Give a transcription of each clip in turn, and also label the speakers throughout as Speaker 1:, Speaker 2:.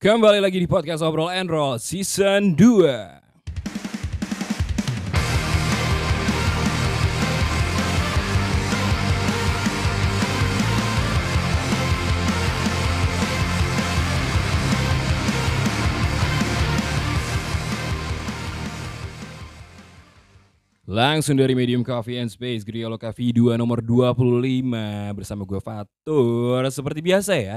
Speaker 1: Kembali lagi di podcast Obrol and Roll Season 2 Langsung dari Medium Coffee and Space Griolo Coffee 2 nomor 25 Bersama gue Fatur Seperti biasa ya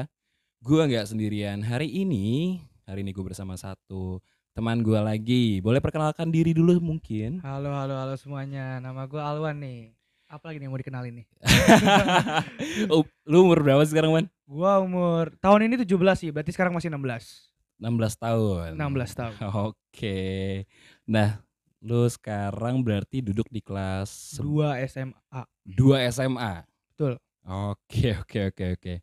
Speaker 1: Gue nggak sendirian Hari ini Hari ini gue bersama satu teman gue lagi Boleh perkenalkan diri dulu mungkin
Speaker 2: Halo, halo, halo semuanya. Nama gue Alwan nih. Apa lagi nih yang mau dikenalin nih?
Speaker 1: Oh, Lu umur berapa sekarang Man?
Speaker 2: Gua umur tahun ini 17 sih, berarti sekarang masih 16.
Speaker 1: 16 tahun
Speaker 2: 16 tahun.
Speaker 1: Oke Nah Lu sekarang berarti duduk di kelas
Speaker 2: 2 SMA.
Speaker 1: 2 SMA.
Speaker 2: Betul.
Speaker 1: Oke, oke, oke, oke.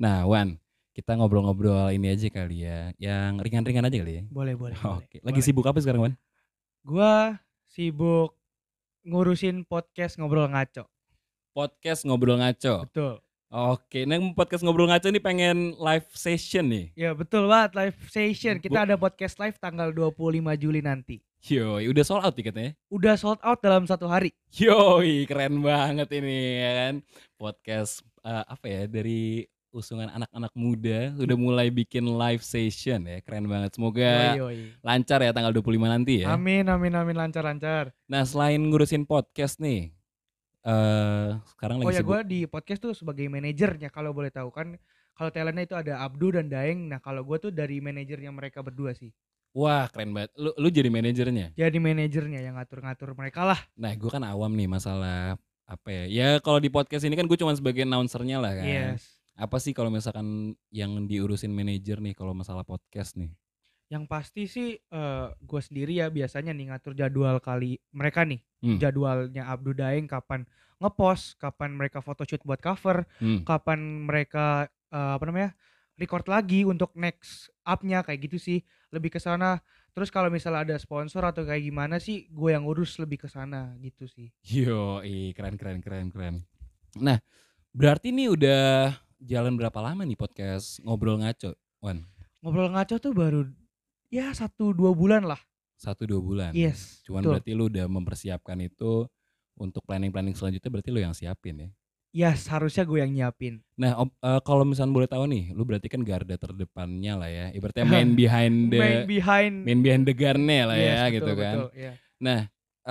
Speaker 1: Nah, Wan, kita ngobrol-ngobrol ini aja kali ya. Yang ringan-ringan aja kali ya.
Speaker 2: Boleh, boleh. boleh,
Speaker 1: Oke. Lagi
Speaker 2: boleh.
Speaker 1: sibuk apa sekarang, Wan?
Speaker 2: Gua sibuk ngurusin podcast ngobrol
Speaker 1: Oh.
Speaker 2: ngaco.
Speaker 1: Podcast ngobrol ngaco.
Speaker 2: Betul.
Speaker 1: Oke, nah podcast ngobrol ngaco ini pengen live session nih.
Speaker 2: Ya, betul banget live session.
Speaker 1: Bu-
Speaker 2: Kita ada podcast live tanggal 25 Juli nanti.
Speaker 1: Yo, udah sold out tiketnya.
Speaker 2: Udah sold out dalam satu hari.
Speaker 1: Yoi, keren banget ini ya kan. Podcast eh, apa ya dari usungan anak-anak muda udah mulai bikin live session ya. Keren banget. Semoga
Speaker 2: Yoi, yoi.
Speaker 1: lancar ya tanggal 25 nanti ya.
Speaker 2: Amin, amin, amin lancar-lancar.
Speaker 1: Nah selain ngurusin podcast nih, eh sekarang lagi
Speaker 2: Oh ya,
Speaker 1: sibuk.
Speaker 2: gue di podcast tuh sebagai manajernya kalau boleh tahu kan. Kalau Thailandnya itu ada Abdu dan Daeng. Nah kalau gue tuh dari manajernya mereka berdua sih.
Speaker 1: Wah keren banget. Lu, lu jadi manajernya.
Speaker 2: Jadi manajernya yang ngatur-ngatur mereka lah.
Speaker 1: Nah gue kan awam nih masalah apa ya? Ya kalau di podcast ini kan gue cuma sebagai announcernya lah kan.
Speaker 2: Yes.
Speaker 1: Apa sih kalau misalkan yang diurusin manajer nih kalau masalah podcast nih?
Speaker 2: Yang pasti sih gue sendiri ya biasanya nih ngatur jadwal kali mereka nih.
Speaker 1: Hmm.
Speaker 2: Jadwalnya Abdu Daeng kapan ngepost, kapan mereka photoshoot buat cover,
Speaker 1: Hmm.
Speaker 2: kapan mereka eh, apa namanya? record lagi untuk next up-nya kayak gitu sih. Lebih ke sana. Terus kalau misalnya ada sponsor atau kayak gimana sih gue yang urus lebih ke sana gitu sih.
Speaker 1: Yo, keren keren keren keren. Nah berarti nih udah jalan berapa lama nih podcast ngobrol ngaco? Wan,
Speaker 2: Ngobrol ngaco tuh baru ya satu dua bulan lah.
Speaker 1: satu dua bulan. Kan,
Speaker 2: Yes.
Speaker 1: Cuman
Speaker 2: betul.
Speaker 1: berarti lu udah mempersiapkan itu untuk planning-planning selanjutnya berarti lu yang siapin ya.
Speaker 2: Yes, harusnya gue yang nyiapin.
Speaker 1: Nah, om- eh, kalau misalnya boleh tahu nih, lu berarti kan garda terdepannya lah ya. Ibaratnya main behind
Speaker 2: Main
Speaker 1: the
Speaker 2: behind
Speaker 1: main behind the garden lah
Speaker 2: Yes,
Speaker 1: ya
Speaker 2: betul,
Speaker 1: gitu kan.
Speaker 2: betul, ya.
Speaker 1: Nah,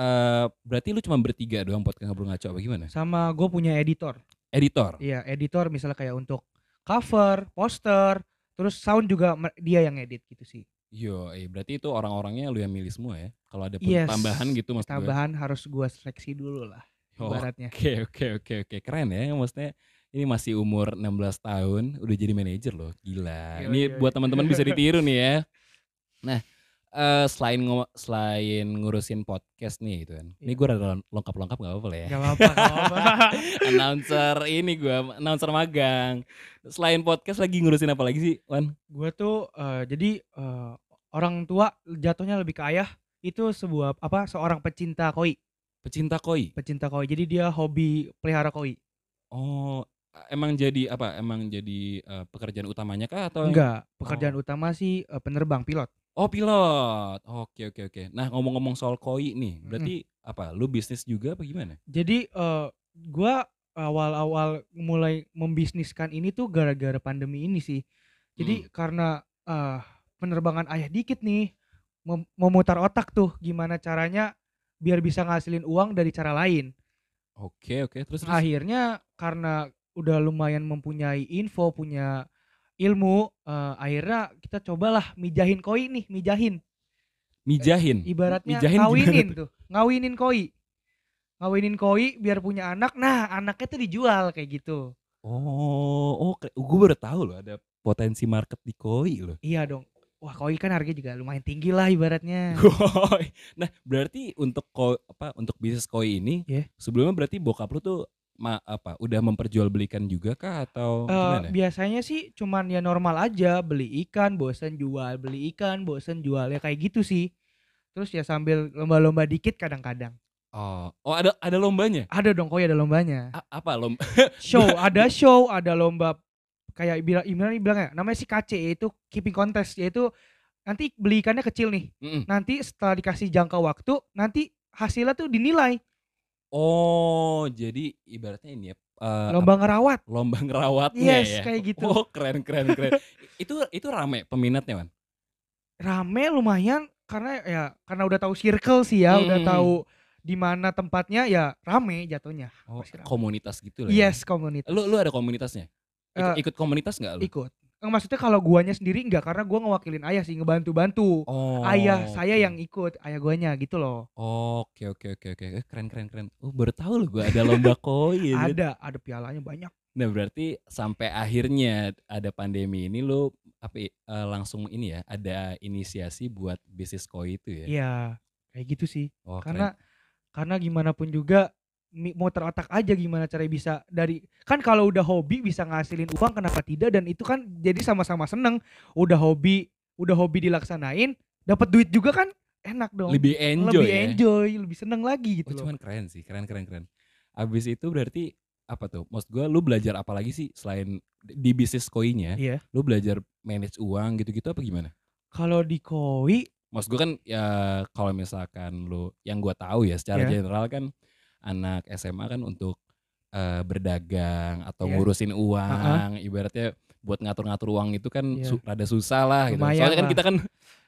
Speaker 1: eh berarti lu cuma bertiga doang podcast ngobrol ngaco apa gimana?
Speaker 2: Sama gue punya editor.
Speaker 1: Editor.
Speaker 2: Iya, editor misalnya kayak untuk cover, poster, terus sound juga mer- dia yang edit gitu sih.
Speaker 1: Yo, eh, berarti itu orang-orangnya lu yang milih semua ya. Kalau ada
Speaker 2: Yes,
Speaker 1: tambahan gitu maksud gue.
Speaker 2: Tambahan harus gue seleksi dulu lah
Speaker 1: Oh,
Speaker 2: ibaratnya.
Speaker 1: Oke, oke, oke, oke. Keren ya maksudnya. Ini masih umur 16 tahun, udah jadi manajer loh. Gila.
Speaker 2: Gila,
Speaker 1: ini
Speaker 2: gila,
Speaker 1: buat
Speaker 2: gila.
Speaker 1: teman-teman bisa ditiru nih ya. Nah, eh selain ngo- selain ngurusin podcast nih gitu kan. Ini
Speaker 2: Iya.
Speaker 1: gue rada lengkap-lengkap gak apa-apa lah ya.
Speaker 2: Gak apa-apa, gak apa-apa.
Speaker 1: announcer ini gue, announcer magang. Selain podcast lagi ngurusin apa lagi sih, Wan?
Speaker 2: gue tuh eh, jadi eh, orang tua jatuhnya lebih ke ayah itu sebuah apa seorang pecinta koi,
Speaker 1: Pecinta koi.
Speaker 2: pecinta koi. Jadi dia hobi pelihara koi.
Speaker 1: Oh, emang jadi apa? Emang jadi eh, pekerjaan utamanya kah atau
Speaker 2: Enggak, pekerjaan utama sih eh, penerbang pilot.
Speaker 1: Oh pilot, oke oke oke. Nah ngomong-ngomong soal koi nih, berarti apa? Lu bisnis juga apa gimana?
Speaker 2: Jadi eh gua awal-awal mulai membisniskan ini tuh gara-gara pandemi ini sih.
Speaker 1: Hmm.
Speaker 2: Jadi karena eh penerbangan ayah dikit nih mem- memutar otak tuh gimana caranya biar bisa ngasilin uang dari cara lain.
Speaker 1: Hmm, Oke oke, terus terus.
Speaker 2: eh, Akhirnya karena udah lumayan mempunyai info, punya ilmu, eh akhirnya kita cobalah mijahin koi nih, mijahin.
Speaker 1: mijahin.
Speaker 2: ibaratnya
Speaker 1: Mijahin gimana
Speaker 2: ngawinin
Speaker 1: tuh?
Speaker 2: tuh ngawinin koi ngawinin koi biar punya anak nah anaknya tuh dijual kayak gitu
Speaker 1: Oh oh, gue baru tahu loh ada potensi market di koi loh.
Speaker 2: iya dong wah koi kan harganya juga lumayan tinggi lah ibaratnya
Speaker 1: Koi. nah berarti untuk ko, apa untuk bisnis koi ini,
Speaker 2: Iya.
Speaker 1: sebelumnya berarti bokap lu tuh ma, apa? Udah memperjualbelikan juga kah atau
Speaker 2: Eh,
Speaker 1: Oh, gimana?
Speaker 2: biasanya sih cuman ya normal aja beli ikan bosen jual beli ikan bosen jual ya kayak gitu sih terus ya sambil lomba-lomba dikit kadang-kadang
Speaker 1: Oh oh ada ada lombanya?
Speaker 2: Eh. ada dong koi ada lombanya
Speaker 1: A- apa lomba?
Speaker 2: show ada show ada lomba kayak bilang Imran bilang ya namanya si KC yaitu keeping contest yaitu nanti beli ikannya kecil nih
Speaker 1: Mm-mm.
Speaker 2: nanti setelah dikasih jangka waktu nanti hasilnya tuh dinilai
Speaker 1: Oh, jadi ibaratnya ini ya. eh,
Speaker 2: lomba ngerawat
Speaker 1: apa- lomba ngerawatnya
Speaker 2: yes
Speaker 1: ya.
Speaker 2: kayak gitu
Speaker 1: Oh, keren keren keren. itu itu rame peminatnya, Wan.
Speaker 2: rame lumayan karena ya karena udah tahu circle sih ya udah
Speaker 1: Hmm.
Speaker 2: tahu di mana tempatnya ya rame jatuhnya
Speaker 1: Oh,
Speaker 2: Pasti rame.
Speaker 1: komunitas gitu lah. ya.
Speaker 2: yes komunitas
Speaker 1: Lu lu ada komunitasnya? Ikut,
Speaker 2: Eh,
Speaker 1: ikut komunitas nggak lu?
Speaker 2: ikut Eh, maksudnya kalau guanya sendiri enggak karena gua ngewakilin ayah sih ngebantu-bantu
Speaker 1: Oh.
Speaker 2: ayah saya
Speaker 1: oke.
Speaker 2: yang ikut ayah guanya gitu loh
Speaker 1: Oke oke oke oke Eh, keren keren keren. Oh baru tahu loh gue ada lomba koin.
Speaker 2: ada ada pialanya banyak
Speaker 1: Nah berarti sampai akhirnya ada pandemi ini lo apa ya, eh, langsung ini ya ada inisiasi buat bisnis koi itu ya.
Speaker 2: iya kayak gitu sih
Speaker 1: Oh,
Speaker 2: karena
Speaker 1: keren.
Speaker 2: karena gimana pun juga mi- mau terotak aja gimana cara bisa dari kan kalau udah hobi bisa ngasilin uang kenapa tidak dan itu kan jadi sama-sama seneng udah hobi udah hobi dilaksanain dapat duit juga kan enak dong
Speaker 1: lebih enjoy.
Speaker 2: lebih
Speaker 1: ya.
Speaker 2: enjoy lebih seneng lagi gitu
Speaker 1: Oh,
Speaker 2: loh
Speaker 1: cuman keren sih, keren keren keren. Abis itu berarti apa tuh? Maksud gue lu belajar apa lagi sih selain di bisnis koinnya?
Speaker 2: Iya.
Speaker 1: Lu belajar manage uang gitu-gitu apa gimana?
Speaker 2: kalau di koi
Speaker 1: Maksud gue kan ya kalau misalkan lu yang gua tahu ya secara
Speaker 2: Iya.
Speaker 1: general kan anak SMA kan untuk eh, berdagang atau
Speaker 2: Iya.
Speaker 1: ngurusin uang, ibaratnya buat ngatur-ngatur uang itu kan
Speaker 2: Iya.
Speaker 1: su- rada susah lah gitu.
Speaker 2: Lumayan
Speaker 1: Soalnya kan
Speaker 2: lah.
Speaker 1: kita kan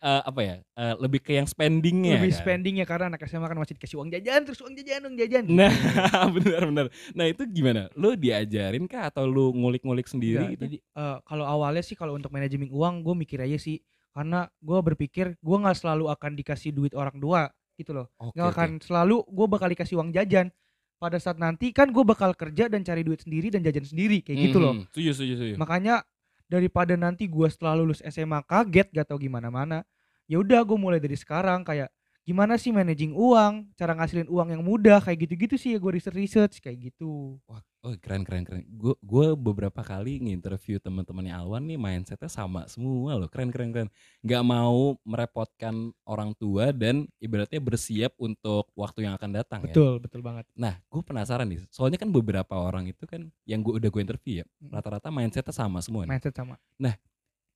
Speaker 1: eh, apa ya? eh, lebih ke yang spendingnya.
Speaker 2: lebih
Speaker 1: kan.
Speaker 2: spendingnya karena anak SMA kan masih dikasih uang jajan terus uang jajan uang jajan
Speaker 1: Nah, benar-benar. Nah, itu gimana? Lu diajarin kah atau lu ngulik-ngulik sendiri
Speaker 2: Enggak,
Speaker 1: gitu?
Speaker 2: jadi eh, kalau awalnya sih kalau untuk manajemen uang gue mikir aja sih karena gue berpikir gue nggak selalu akan dikasih duit orang dua gitu loh
Speaker 1: Oke,
Speaker 2: nggak
Speaker 1: oke.
Speaker 2: akan selalu gue bakal dikasih uang jajan pada saat nanti kan gue bakal kerja dan cari duit sendiri dan jajan sendiri kayak gitu
Speaker 1: Mhm.
Speaker 2: loh
Speaker 1: Setuju, setuju, setuju.
Speaker 2: makanya daripada nanti gue setelah lulus SMA kaget gak tau gimana mana ya udah gue mulai dari sekarang kayak gimana sih managing uang cara ngasilin uang yang mudah kayak gitu-gitu sih ya gue research research kayak gitu
Speaker 1: Wah, oh, keren keren keren. Gue gua beberapa kali nginterview teman-temannya Alwan nih mindsetnya sama semua loh. Keren keren keren. Gak mau merepotkan orang tua dan ibaratnya bersiap untuk waktu yang akan datang ya.
Speaker 2: betul betul banget
Speaker 1: Nah, gue penasaran nih. Soalnya kan beberapa orang itu kan yang gue udah gue interview ya,
Speaker 2: Mhm.
Speaker 1: rata-rata mindsetnya sama semua. nih.
Speaker 2: mindset sama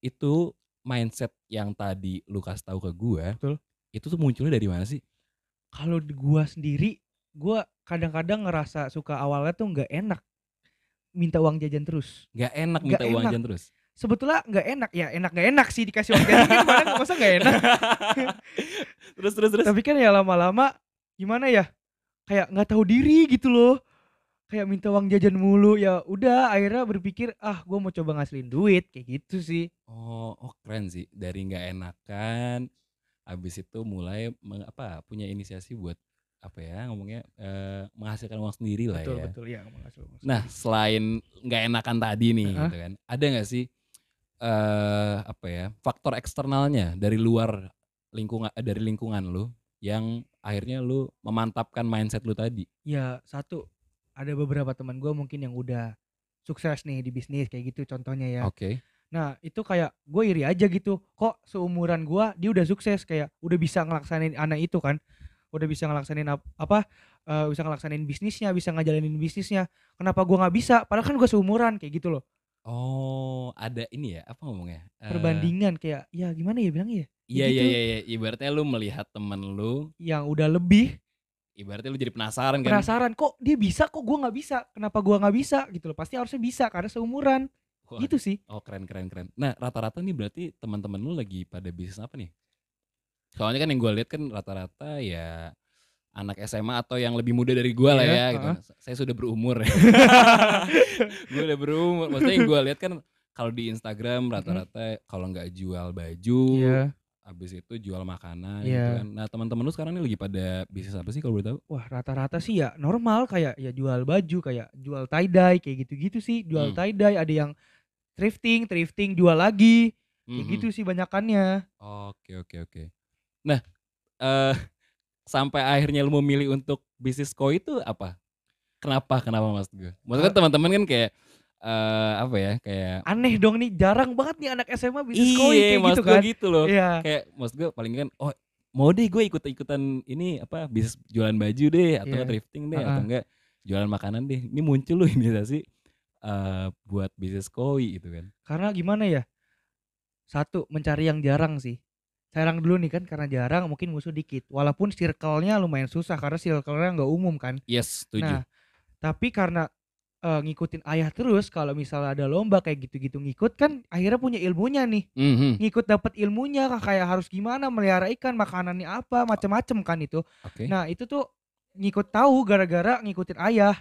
Speaker 1: Itu mindset yang tadi lu kasih tahu ke gue,
Speaker 2: Betul.
Speaker 1: itu tuh munculnya dari mana sih?
Speaker 2: kalau di gua sendiri gua kadang-kadang ngerasa suka awalnya tuh nggak enak minta uang jajan terus
Speaker 1: Gak enak
Speaker 2: Nggak
Speaker 1: minta uang
Speaker 2: enak.
Speaker 1: jajan terus.
Speaker 2: sebetulnya nggak enak ya enak nggak enak sih dikasih uang jajan kan kadang masa nggak enak
Speaker 1: terus terus terus.
Speaker 2: tapi kan ya lama-lama gimana ya kayak nggak tahu diri gitu loh kayak minta uang jajan mulu ya udah akhirnya berpikir ah gua mau coba ngasilin duit kayak gitu sih
Speaker 1: Oh, oh keren sih. Dari nggak enakan, habis itu mulai meng- apa punya inisiasi buat apa ya ngomongnya eh, menghasilkan uang sendiri lah
Speaker 2: betul
Speaker 1: ya.
Speaker 2: betul ya ngomong ngasilin uang
Speaker 1: Nah selain nggak enakan tadi nih,
Speaker 2: Heeh.
Speaker 1: gitu kan, ada nggak sih eh apa ya faktor eksternalnya dari luar lingkungan eh, dari lingkungan lu yang akhirnya lu memantapkan mindset lu tadi.
Speaker 2: ya satu ada beberapa teman gua mungkin yang udah sukses nih di bisnis kayak gitu contohnya ya
Speaker 1: Oke.
Speaker 2: Nah itu kayak gue iri aja gitu Kok seumuran gue dia udah sukses Kayak udah bisa ngelaksanin anak itu kan Udah bisa ngelaksanin ap- apa eh, Bisa ngelaksanin bisnisnya Bisa ngejalanin bisnisnya Kenapa gue gak bisa Padahal kan gue seumuran kayak gitu loh
Speaker 1: Oh, ada ini ya apa ngomongnya? Eh,
Speaker 2: Perbandingan kayak ya gimana ya bilangnya ya
Speaker 1: Iya
Speaker 2: gitu.
Speaker 1: iya iya. iya. Ibaratnya lu melihat temen lu
Speaker 2: Yang udah lebih
Speaker 1: ibaratnya lu jadi penasaran kan
Speaker 2: penasaran Kok dia bisa kok gue gak bisa Kenapa gue gak bisa gitu loh Pasti harusnya bisa karena seumuran
Speaker 1: Wah,
Speaker 2: Gitu sih
Speaker 1: oh keren keren keren nah rata-rata nih berarti teman-teman lu lagi pada bisnis apa nih soalnya kan yang gue lihat kan rata-rata ya anak SMA atau yang lebih muda dari gue lah
Speaker 2: Iya,
Speaker 1: ya gitu. saya sudah berumur ya gue udah berumur maksudnya yang gue lihat kan kalau di Instagram rata-rata kalau nggak jual baju habis itu jual makanan gitu
Speaker 2: Iya.
Speaker 1: kan nah teman-teman lu sekarang nih lagi pada bisnis apa sih kalau boleh tahu
Speaker 2: Wah rata-rata sih ya normal kayak ya jual baju kayak jual tie dye kayak gitu-gitu sih jual
Speaker 1: Hmm.
Speaker 2: tie dye ada yang thrifting thrifting jual lagi kayak
Speaker 1: Mhm.
Speaker 2: gitu sih banyakannya
Speaker 1: Oke oke oke. Nah, eh sampai akhirnya lu memilih untuk bisnis koi itu apa? Kenapa? Kenapa mas gue? Maksudnya teman-teman kan kayak eh apa ya? Kayak
Speaker 2: aneh dong nih jarang banget nih anak SMA bisnis
Speaker 1: Iya,
Speaker 2: koi kayak
Speaker 1: mas
Speaker 2: gitu
Speaker 1: gue
Speaker 2: kan
Speaker 1: gitu loh.
Speaker 2: iya
Speaker 1: Kayak mas gue paling kan oh mau deh gue ikut-ikutan ini apa bisnis jualan baju deh atau
Speaker 2: Iya.
Speaker 1: nggak thrifting deh
Speaker 2: Ha-ha.
Speaker 1: atau enggak jualan makanan deh. Ini muncul loh ini sih eh, buat bisnis koi gitu kan.
Speaker 2: Karena gimana ya? Satu, mencari yang jarang sih. Jarang dulu nih kan karena jarang mungkin musuh dikit. Walaupun circle-nya lumayan susah karena circle-nya nggak umum kan.
Speaker 1: Yes, setuju.
Speaker 2: Nah, tapi karena eh, ngikutin ayah terus kalau misalnya ada lomba kayak gitu-gitu ngikut kan akhirnya punya ilmunya nih.
Speaker 1: Mhm,
Speaker 2: Ngikut dapat ilmunya kayak harus gimana melihara ikan, makanannya apa, macam-macam kan itu.
Speaker 1: Oke.
Speaker 2: Nah, itu tuh ngikut tahu gara-gara ngikutin ayah.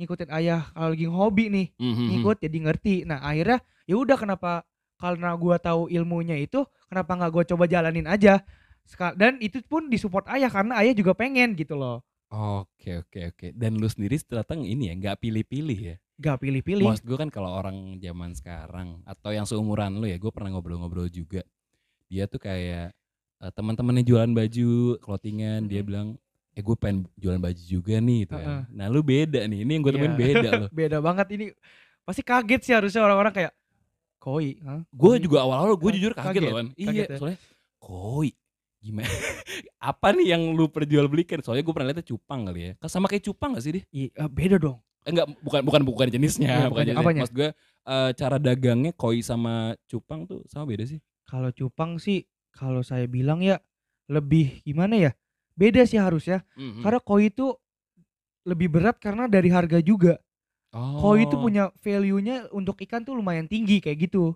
Speaker 2: Ngikutin ayah kalau lagi hobi nih
Speaker 1: Mhm,
Speaker 2: ngikut jadi ngerti. Nah akhirnya ya udah kenapa karena gua tahu ilmunya itu kenapa nggak gua coba jalanin aja Seka- dan itu pun disupport ayah karena ayah juga pengen gitu loh
Speaker 1: Oke, oke, oke. Dan lu sendiri ternyata ini ya, nggak pilih-pilih ya.
Speaker 2: gak pilih-pilih
Speaker 1: Maksud gue kan kalau orang zaman sekarang atau yang seumuran lu ya, gue pernah ngobrol-ngobrol juga. Dia tuh kayak eh, teman-temannya jualan baju, clothingan, dia
Speaker 2: Mhm.
Speaker 1: bilang, "Eh, gue pengen jualan baju juga nih." gitu kan. Nah, lu beda nih. Ini yang gue temuin
Speaker 2: Iya.
Speaker 1: beda loh.
Speaker 2: beda banget ini pasti kaget sih harusnya orang-orang kayak koi hah?
Speaker 1: Gue
Speaker 2: Koi?
Speaker 1: juga awal-awal gue
Speaker 2: Ka-
Speaker 1: jujur kaget,
Speaker 2: Oh, kaget,
Speaker 1: loh kan. Iya,
Speaker 2: kaget ya.
Speaker 1: soalnya koi gimana? Apa nih yang lu perjualbelikan? Soalnya gue pernah liatnya cupang kali ya. Kan Sama kayak cupang gak sih dia?
Speaker 2: I- eh, beda dong
Speaker 1: Eh, enggak bukan bukan bukan
Speaker 2: Iya,
Speaker 1: jenisnya
Speaker 2: bukan
Speaker 1: bukan jenisnya
Speaker 2: apanya?
Speaker 1: maksud gue eh, cara dagangnya koi sama cupang tuh sama beda sih
Speaker 2: kalau cupang sih kalau saya bilang ya lebih gimana ya beda sih harusnya
Speaker 1: Hmm.
Speaker 2: karena koi itu lebih berat karena dari harga juga
Speaker 1: oh,
Speaker 2: Koi itu punya value-nya untuk ikan tuh lumayan tinggi kayak gitu.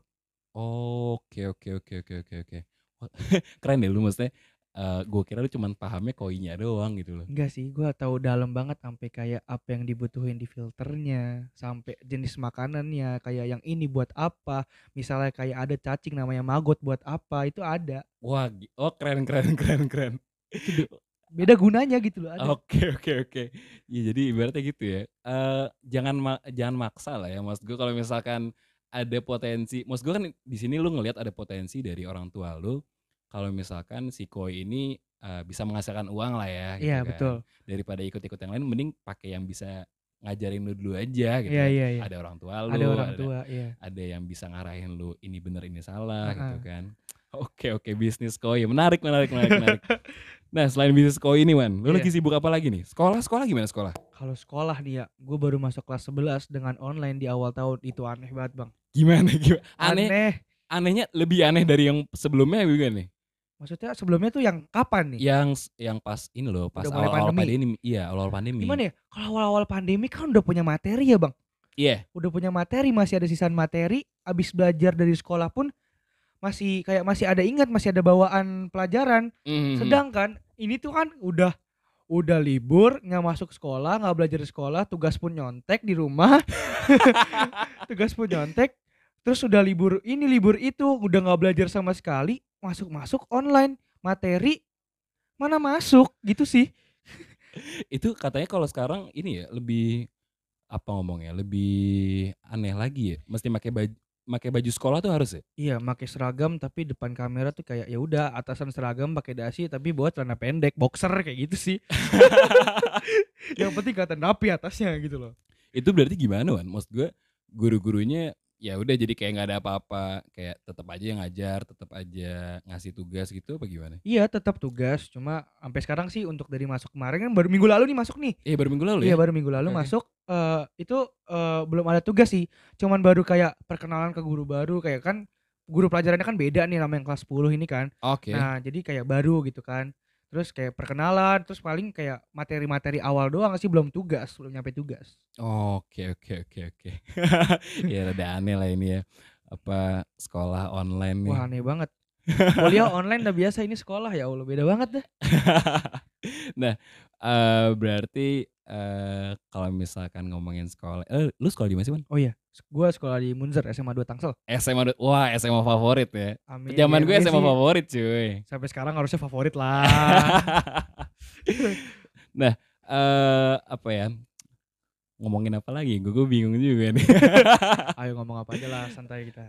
Speaker 1: oke oke oke oke oke oke Wah, keren deh lu maksudnya Eh gue kira lu cuman pahamnya koinya doang gitu loh
Speaker 2: Enggak sih, gua tahu dalam banget sampai kayak apa yang dibutuhin di filternya, sampai jenis makanannya, kayak yang ini buat apa. Misalnya kayak ada cacing namanya maggot buat apa, itu ada.
Speaker 1: wah gi- oh keren keren keren keren
Speaker 2: Beda gunanya gitu loh, ada.
Speaker 1: Oke oke oke. Ya jadi ibaratnya gitu ya. Eh jangan ma- jangan maksa lah ya Mas. Gue kalau misalkan ada potensi, Mas gue kan di sini lu ngelihat ada potensi dari orang tua lu kalau misalkan si koi ini eh, bisa menghasilkan uang lah ya gitu
Speaker 2: Iya,
Speaker 1: kan.
Speaker 2: betul.
Speaker 1: Daripada ikut-ikut yang lain mending pakai yang bisa ngajarin lu dulu aja gitu.
Speaker 2: Iya,
Speaker 1: kan.
Speaker 2: iya, iya.
Speaker 1: Ada orang tua lu,
Speaker 2: Ada orang tua, iya.
Speaker 1: ada yang bisa ngarahin lu ini bener ini salah gitu
Speaker 2: Heeh.
Speaker 1: kan. Oke oke bisnis koi menarik menarik menarik menarik. Nah selain bisnis koi ini man, lu
Speaker 2: Iya.
Speaker 1: lagi sibuk apa lagi nih? Sekolah sekolah gimana sekolah?
Speaker 2: Kalau sekolah nih ya, gue baru masuk kelas 11 dengan online di awal tahun, itu aneh banget bang.
Speaker 1: Gimana gimana? Aneh
Speaker 2: Aneh.
Speaker 1: anehnya lebih aneh dari yang sebelumnya gimana nih?
Speaker 2: Maksudnya sebelumnya tuh yang kapan nih?
Speaker 1: Yang yang pas ini loh pas
Speaker 2: Udah mulai
Speaker 1: awal awal
Speaker 2: pandemi.
Speaker 1: pandemi. Iya awal awal pandemi.
Speaker 2: Gimana ya? Kalau awal-awal pandemi kan udah punya materi ya bang.
Speaker 1: Iya
Speaker 2: udah punya materi masih ada sisaan materi abis belajar dari sekolah pun masih kayak masih ada ingat masih ada bawaan pelajaran
Speaker 1: Mhm.
Speaker 2: sedangkan ini tuh kan udah udah libur nggak masuk sekolah nggak belajar di sekolah tugas pun nyontek di rumah tugas pun nyontek terus udah libur ini libur itu udah nggak belajar sama sekali masuk masuk online materi mana masuk gitu sih
Speaker 1: itu katanya kalau sekarang ini ya lebih apa ngomongnya lebih aneh lagi ya. Mesti pakai baju pakai baju sekolah tuh harus ya.
Speaker 2: Iya, pakai seragam tapi depan kamera tuh kayak ya udah atasan seragam pakai dasi tapi buat celana pendek, boxer kayak gitu sih. Yang penting kelihatan rapi atasnya gitu loh.
Speaker 1: itu berarti gimana kan maksud gue guru-gurunya ya udah jadi kayak nggak ada apa-apa kayak tetap aja yang ngajar tetap aja ngasih tugas gitu apa gimana
Speaker 2: Iya, tetap tugas, cuma sampai sekarang sih untuk dari masuk kemarin kan baru minggu lalu nih masuk nih.
Speaker 1: eh baru minggu lalu ya
Speaker 2: Iya, baru minggu lalu
Speaker 1: Oke.
Speaker 2: masuk eh, itu eh, belum ada tugas sih. Cuman baru kayak perkenalan ke guru baru kayak kan guru pelajarannya kan beda nih namanya yang kelas 10 ini kan.
Speaker 1: oke
Speaker 2: Nah, jadi kayak baru gitu kan. Terus kayak perkenalan, terus paling kayak materi-materi awal doang sih belum tugas, belum nyampe tugas.
Speaker 1: oke oke oke oke ya rada aneh lah ini ya apa sekolah online nih
Speaker 2: Wah aneh banget. Kuliah online udah biasa ini sekolah ya Allah beda banget dah.
Speaker 1: nah eh, berarti eh, kalau misalkan ngomongin sekolah eh, lu sekolah di mana sih man
Speaker 2: Oh iya, gua sekolah di Munzer SMA 2 Tangsel.
Speaker 1: SMA wah SMA favorit ya
Speaker 2: Amin.
Speaker 1: zaman gue
Speaker 2: Iya
Speaker 1: SMA
Speaker 2: sih,
Speaker 1: favorit cuy
Speaker 2: Sampai sekarang harusnya favorit lah.
Speaker 1: Nah, eh apa ya ngomongin apa lagi gue bingung juga nih
Speaker 2: Ayo ngomong apa aja lah santai kita.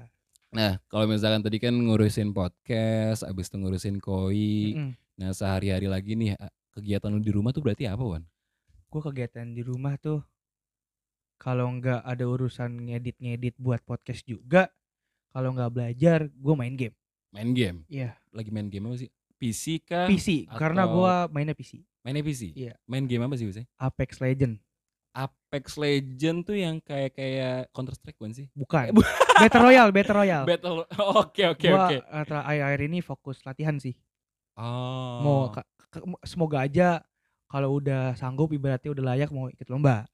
Speaker 1: nah kalau misalkan tadi kan ngurusin podcast abis itu ngurusin koi
Speaker 2: Mm-mm.
Speaker 1: nah sehari-hari lagi nih a- kegiatan lu di rumah tuh berarti apa Wan?
Speaker 2: Gua kegiatan di rumah tuh kalau nggak ada urusan ngedit-ngedit buat podcast juga, kalau nggak belajar gua main game.
Speaker 1: Main game?
Speaker 2: Iya.
Speaker 1: Lagi main game apa sih? PC kah?
Speaker 2: PC
Speaker 1: Ah,
Speaker 2: karena
Speaker 1: atau-
Speaker 2: gua mainnya PC.
Speaker 1: Mainnya PC?
Speaker 2: Iya.
Speaker 1: Main game apa sih biasanya?
Speaker 2: Apex Legend.
Speaker 1: Apex Legend tuh yang kayak kayak Counter Strike bukan sih?
Speaker 2: Bukan. Battle Royale, Battle Royale.
Speaker 1: Battle. Oke oke
Speaker 2: Gua,
Speaker 1: oke.
Speaker 2: eh, telah akhir-akhir ini fokus latihan sih.
Speaker 1: Oh.
Speaker 2: Mau ka- ke- mo- semoga aja kalau udah sanggup ibaratnya udah layak mau ikut lomba.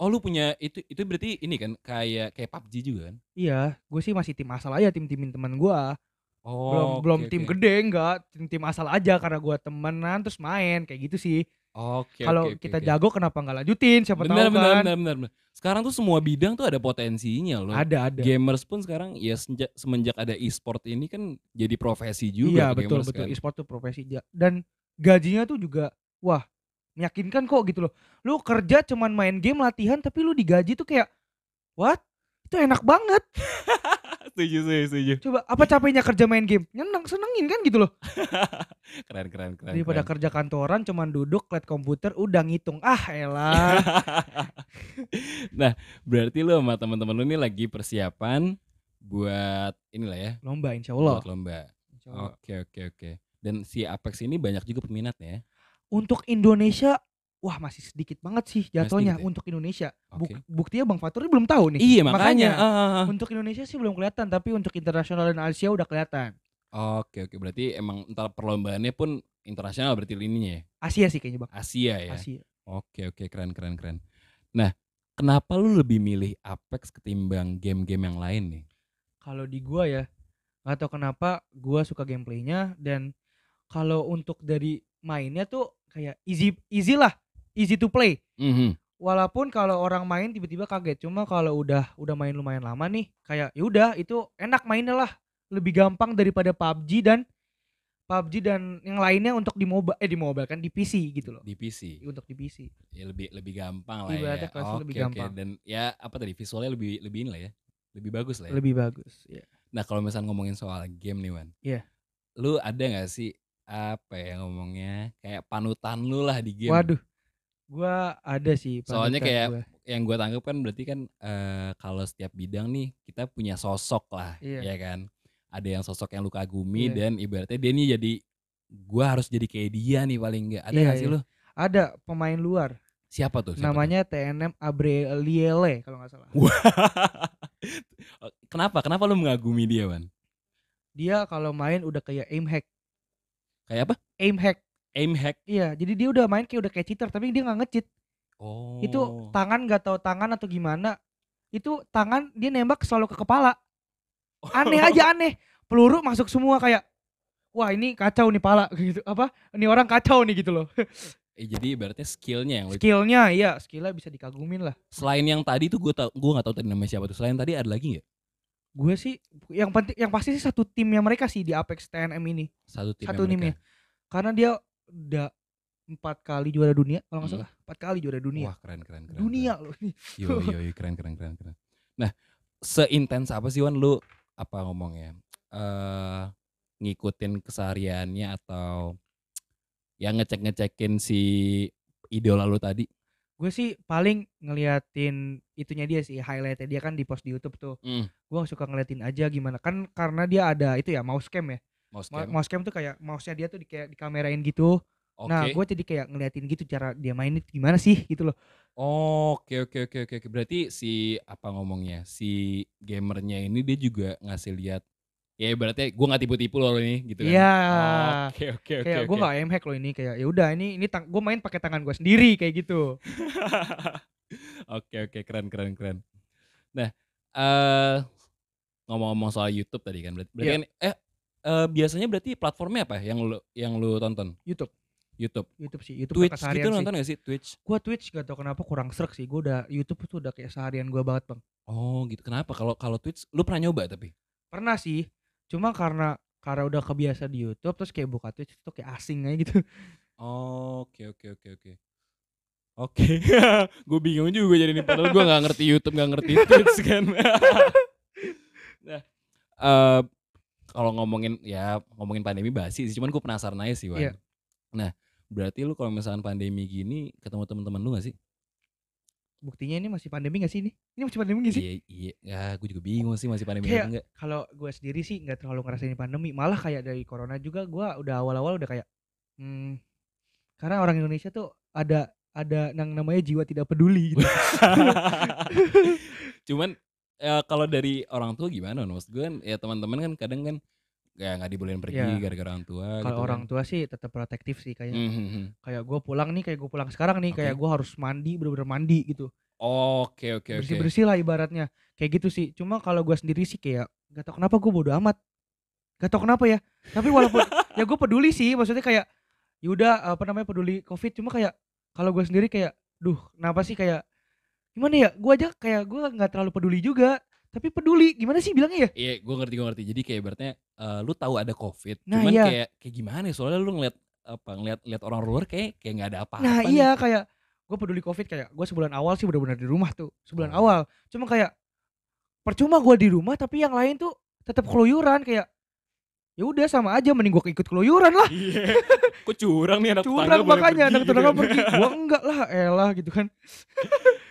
Speaker 1: Oh lu punya itu itu berarti ini kan kayak kayak PUBG juga kan?
Speaker 2: Iya, gue sih masih tim asal aja tim-timin teman gua.
Speaker 1: Oh.
Speaker 2: Belum
Speaker 1: oke,
Speaker 2: belum
Speaker 1: oke.
Speaker 2: tim gede enggak, tim-tim asal aja karena gua temenan terus main kayak gitu sih.
Speaker 1: Oke.
Speaker 2: kalau
Speaker 1: oke, oke,
Speaker 2: kita
Speaker 1: oke.
Speaker 2: jago kenapa nggak lanjutin? Siapa
Speaker 1: benar,
Speaker 2: tahu
Speaker 1: benar,
Speaker 2: kan.
Speaker 1: benar, benar, benar. Sekarang tuh semua bidang tuh ada potensinya loh.
Speaker 2: Ada ada.
Speaker 1: Gamers pun sekarang ya senja- semenjak ada e-sport ini kan jadi profesi
Speaker 2: iya
Speaker 1: juga tuh
Speaker 2: betul
Speaker 1: gamers
Speaker 2: betul
Speaker 1: kan.
Speaker 2: e-sport tuh profesi ja- dan gajinya tuh juga wah meyakinkan kok gitu loh lu kerja cuman main game latihan tapi lu digaji tuh kayak what itu enak banget
Speaker 1: Setuju, setuju, setuju.
Speaker 2: coba apa capeknya kerja main game nyeneng senengin kan gitu loh
Speaker 1: Keren, keren, keren.
Speaker 2: daripada
Speaker 1: keren.
Speaker 2: kerja kantoran cuman duduk liat komputer udah ngitung ah elah
Speaker 1: Berarti lu sama teman-teman lu ini lagi persiapan buat inilah ya,
Speaker 2: lomba insya Allah,
Speaker 1: buat lomba.
Speaker 2: Insya Allah.
Speaker 1: Oke, oke, oke. Dan si Apex ini banyak juga peminatnya ya.
Speaker 2: untuk Indonesia wah masih sedikit banget sih jatuhnya
Speaker 1: sedikit ya?
Speaker 2: untuk Indonesia Buk-
Speaker 1: Oke.
Speaker 2: buktinya Bang Fatur belum tahu nih
Speaker 1: Iya,
Speaker 2: makanya.
Speaker 1: makanya. Ah, ah, ah.
Speaker 2: untuk Indonesia sih belum kelihatan tapi untuk internasional dan Asia udah kelihatan
Speaker 1: Oke, oke. Berarti emang entar perlombaannya pun internasional berarti lininya ya.
Speaker 2: Asia sih kayaknya bang.
Speaker 1: Asia ya.
Speaker 2: Asia.
Speaker 1: Oke oke keren keren keren. Nah kenapa lu lebih milih Apex ketimbang game-game yang lain nih?
Speaker 2: Kalau di gua ya nggak tahu kenapa gua suka gameplaynya dan kalau untuk dari mainnya tuh kayak easy easy lah easy to play.
Speaker 1: Mhm.
Speaker 2: Walaupun kalau orang main tiba-tiba kaget, cuma kalau udah udah main lumayan lama nih, kayak ya udah itu enak mainnya lah, lebih gampang daripada PUBG dan PUBG dan yang lainnya untuk di mobile eh di mobile kan di PC gitu loh,
Speaker 1: Di PC
Speaker 2: untuk di PC.
Speaker 1: ya lebih lebih gampang lah
Speaker 2: Ibaratnya
Speaker 1: ya.
Speaker 2: kelasnya lebih gampang.
Speaker 1: dan ya apa tadi visualnya lebih lebih ini lah ya, lebih bagus lah. Ya.
Speaker 2: Lebih bagus. Ya.
Speaker 1: Nah kalau misalnya ngomongin soal game nih Wan,
Speaker 2: Iya.
Speaker 1: lu ada nggak sih apa ya ngomongnya kayak panutan lu lah di game?
Speaker 2: Waduh, gua ada sih.
Speaker 1: Iya. Soalnya
Speaker 2: panutan
Speaker 1: kayak- ya.
Speaker 2: gua.
Speaker 1: yang gue tangkap kan berarti kan eh, kalau setiap bidang nih kita punya sosok lah
Speaker 2: Iya.
Speaker 1: ya kan ada yang sosok yang lu kagumi
Speaker 2: Iya.
Speaker 1: dan ibaratnya dia nih jadi gue harus jadi kayak dia nih paling enggak ada
Speaker 2: Iya,
Speaker 1: nggak sih
Speaker 2: iya.
Speaker 1: lu
Speaker 2: ada pemain luar.
Speaker 1: siapa tuh siapa
Speaker 2: namanya TNM Abreliele kalau nggak salah.
Speaker 1: tuh? kenapa kenapa lu mengagumi dia man
Speaker 2: Dia kalau main udah kayak aim hack,
Speaker 1: kayak apa
Speaker 2: aim hack.
Speaker 1: aim hack
Speaker 2: Iya, jadi dia udah main kayak udah kayak cheater tapi dia nggak ngecit.
Speaker 1: oh
Speaker 2: Itu tangan nggak tahu tangan atau gimana. Itu tangan dia nembak selalu ke kepala. Aneh aja aneh. Peluru masuk semua kayak wah ini kacau nih pala gitu apa ini orang kacau nih gitu loh
Speaker 1: Eh, jadi ibaratnya skillnya yang lu
Speaker 2: skillnya iya skillnya bisa dikagumin lah
Speaker 1: selain yang tadi tuh gue tau gue nggak tahu tadi namanya siapa tuh selain tadi ada lagi nggak
Speaker 2: gue sih yang penting yang pasti sih satu timnya mereka sih di Apex TNM ini
Speaker 1: satu tim
Speaker 2: Satu ya,
Speaker 1: mereka.
Speaker 2: timnya. karena dia udah empat kali juara dunia kalau nggak
Speaker 1: Mm.
Speaker 2: salah empat kali juara dunia
Speaker 1: wah keren keren keren keren.
Speaker 2: dunia loh ini
Speaker 1: Yo yo yo, keren keren keren keren. Nah, seintens apa sih Wan lu apa ngomongnya? Eh ngikutin kesehariannya atau yang ngecek-ngecekin si idola lu tadi?
Speaker 2: gue sih paling ngeliatin itunya dia sih highlightnya dia kan di post di YouTube tuh gue suka ngeliatin aja gimana kan karena dia ada itu ya mouse cam ya
Speaker 1: Mau
Speaker 2: Ma-
Speaker 1: scam.
Speaker 2: mouse cam tuh kayak mouse nya dia tuh di kayak dikamerain gitu
Speaker 1: Oke.
Speaker 2: nah gue jadi kayak ngeliatin gitu cara dia mainnya gimana sih gitu loh
Speaker 1: Oke oke oke oke oke. Berarti si apa ngomongnya? Si gamernya ini dia juga ngasih lihat ya ibaratnya gua nggak tipu-tipu loh lo ini gitu kan.
Speaker 2: Iya.
Speaker 1: Oke oke oke.
Speaker 2: kayak
Speaker 1: oke.
Speaker 2: gue nggak aim hack loh ini kayak ya udah ini ini gue main pakai tangan gue sendiri kayak gitu
Speaker 1: Oke oke keren keren keren. Nah eh ngomong-ngomong soal YouTube tadi kan berarti, berarti
Speaker 2: Iya.
Speaker 1: kan, eh eh, biasanya berarti platformnya apa ya yang lu yang lu tonton
Speaker 2: YouTube
Speaker 1: YouTube,
Speaker 2: YouTube sih YouTube
Speaker 1: Twitch
Speaker 2: keseharian
Speaker 1: gitu lu nonton gak sih Twitch?
Speaker 2: gue Twitch gak tau kenapa kurang serak sih gue udah YouTube tuh udah kayak seharian gue banget bang
Speaker 1: Oh gitu kenapa kalau kalau Twitch lu pernah nyoba tapi
Speaker 2: pernah sih cuma karena karena udah kebiasa di YouTube terus kayak buka Twitch tuh kayak asing aja gitu
Speaker 1: Oh, oke oke oke oke oke gue bingung juga jadi ini padahal gue nggak ngerti YouTube nggak ngerti Twitch kan nah eh, kalau ngomongin ya ngomongin pandemi basi sih cuman gue penasaran aja sih Wan
Speaker 2: Iya.
Speaker 1: nah berarti lu kalau misalkan pandemi gini ketemu teman-teman lu gak sih
Speaker 2: buktinya ini masih pandemi gak sih ini ini masih pandemi gak sih
Speaker 1: iya iya ya gue juga bingung sih masih pandemi
Speaker 2: Kayak-
Speaker 1: apa enggak
Speaker 2: kalau gue sendiri sih nggak terlalu ngerasain pandemi malah kayak dari corona juga gue udah awal-awal udah kayak hmm, karena orang Indonesia tuh ada ada yang namanya jiwa tidak peduli gitu.
Speaker 1: Cuman ya kalau dari orang tua gimana? Noh? Maksud gue kan ya teman-teman kan kadang kan ya nggak dibolehin pergi
Speaker 2: Ya. Hmm.
Speaker 1: gara-gara orang tua. gitu
Speaker 2: Kalau orang tua sih tetap protektif sih
Speaker 1: Kan.
Speaker 2: kayak
Speaker 1: Mhm.
Speaker 2: kayak gue pulang nih kayak gue pulang sekarang nih
Speaker 1: Oke.
Speaker 2: kayak gue harus mandi bener-bener mandi gitu
Speaker 1: Oke oke oke.
Speaker 2: bersih bersih lah ibaratnya kayak gitu sih cuma kalau gue sendiri sih kayak gak tau kenapa gue bodo amat gak tau kenapa ya tapi walaupun ya gue peduli sih maksudnya kayak yaudah apa namanya peduli covid cuma kayak kalau gue sendiri kayak duh kenapa sih kayak gimana ya gue aja kayak gue nggak terlalu peduli juga tapi peduli gimana sih bilangnya ya
Speaker 1: Iya, gue ngerti gue ngerti. Jadi kayak ibaratnya eh, lu tahu ada covid,
Speaker 2: Nah,
Speaker 1: cuman
Speaker 2: iya.
Speaker 1: kayak kayak gimana? ya, Soalnya lu ngeliat apa ngeliat ngeliat orang luar kayak kayak nggak ada apa-apa.
Speaker 2: nah
Speaker 1: nih.
Speaker 2: iya kayak gue peduli covid kayak gue sebulan awal sih benar-benar di rumah tuh sebulan
Speaker 1: Oh.
Speaker 2: awal cuma kayak percuma gue di rumah tapi yang lain tuh tetap keluyuran kayak ya udah sama aja mending gue ikut keluyuran lah
Speaker 1: Iya. Kok curang nih anak tetangga
Speaker 2: curang
Speaker 1: boleh
Speaker 2: makanya
Speaker 1: pergi
Speaker 2: anak
Speaker 1: gitu
Speaker 2: tetangga
Speaker 1: kan.
Speaker 2: pergi gua enggak lah elah gitu kan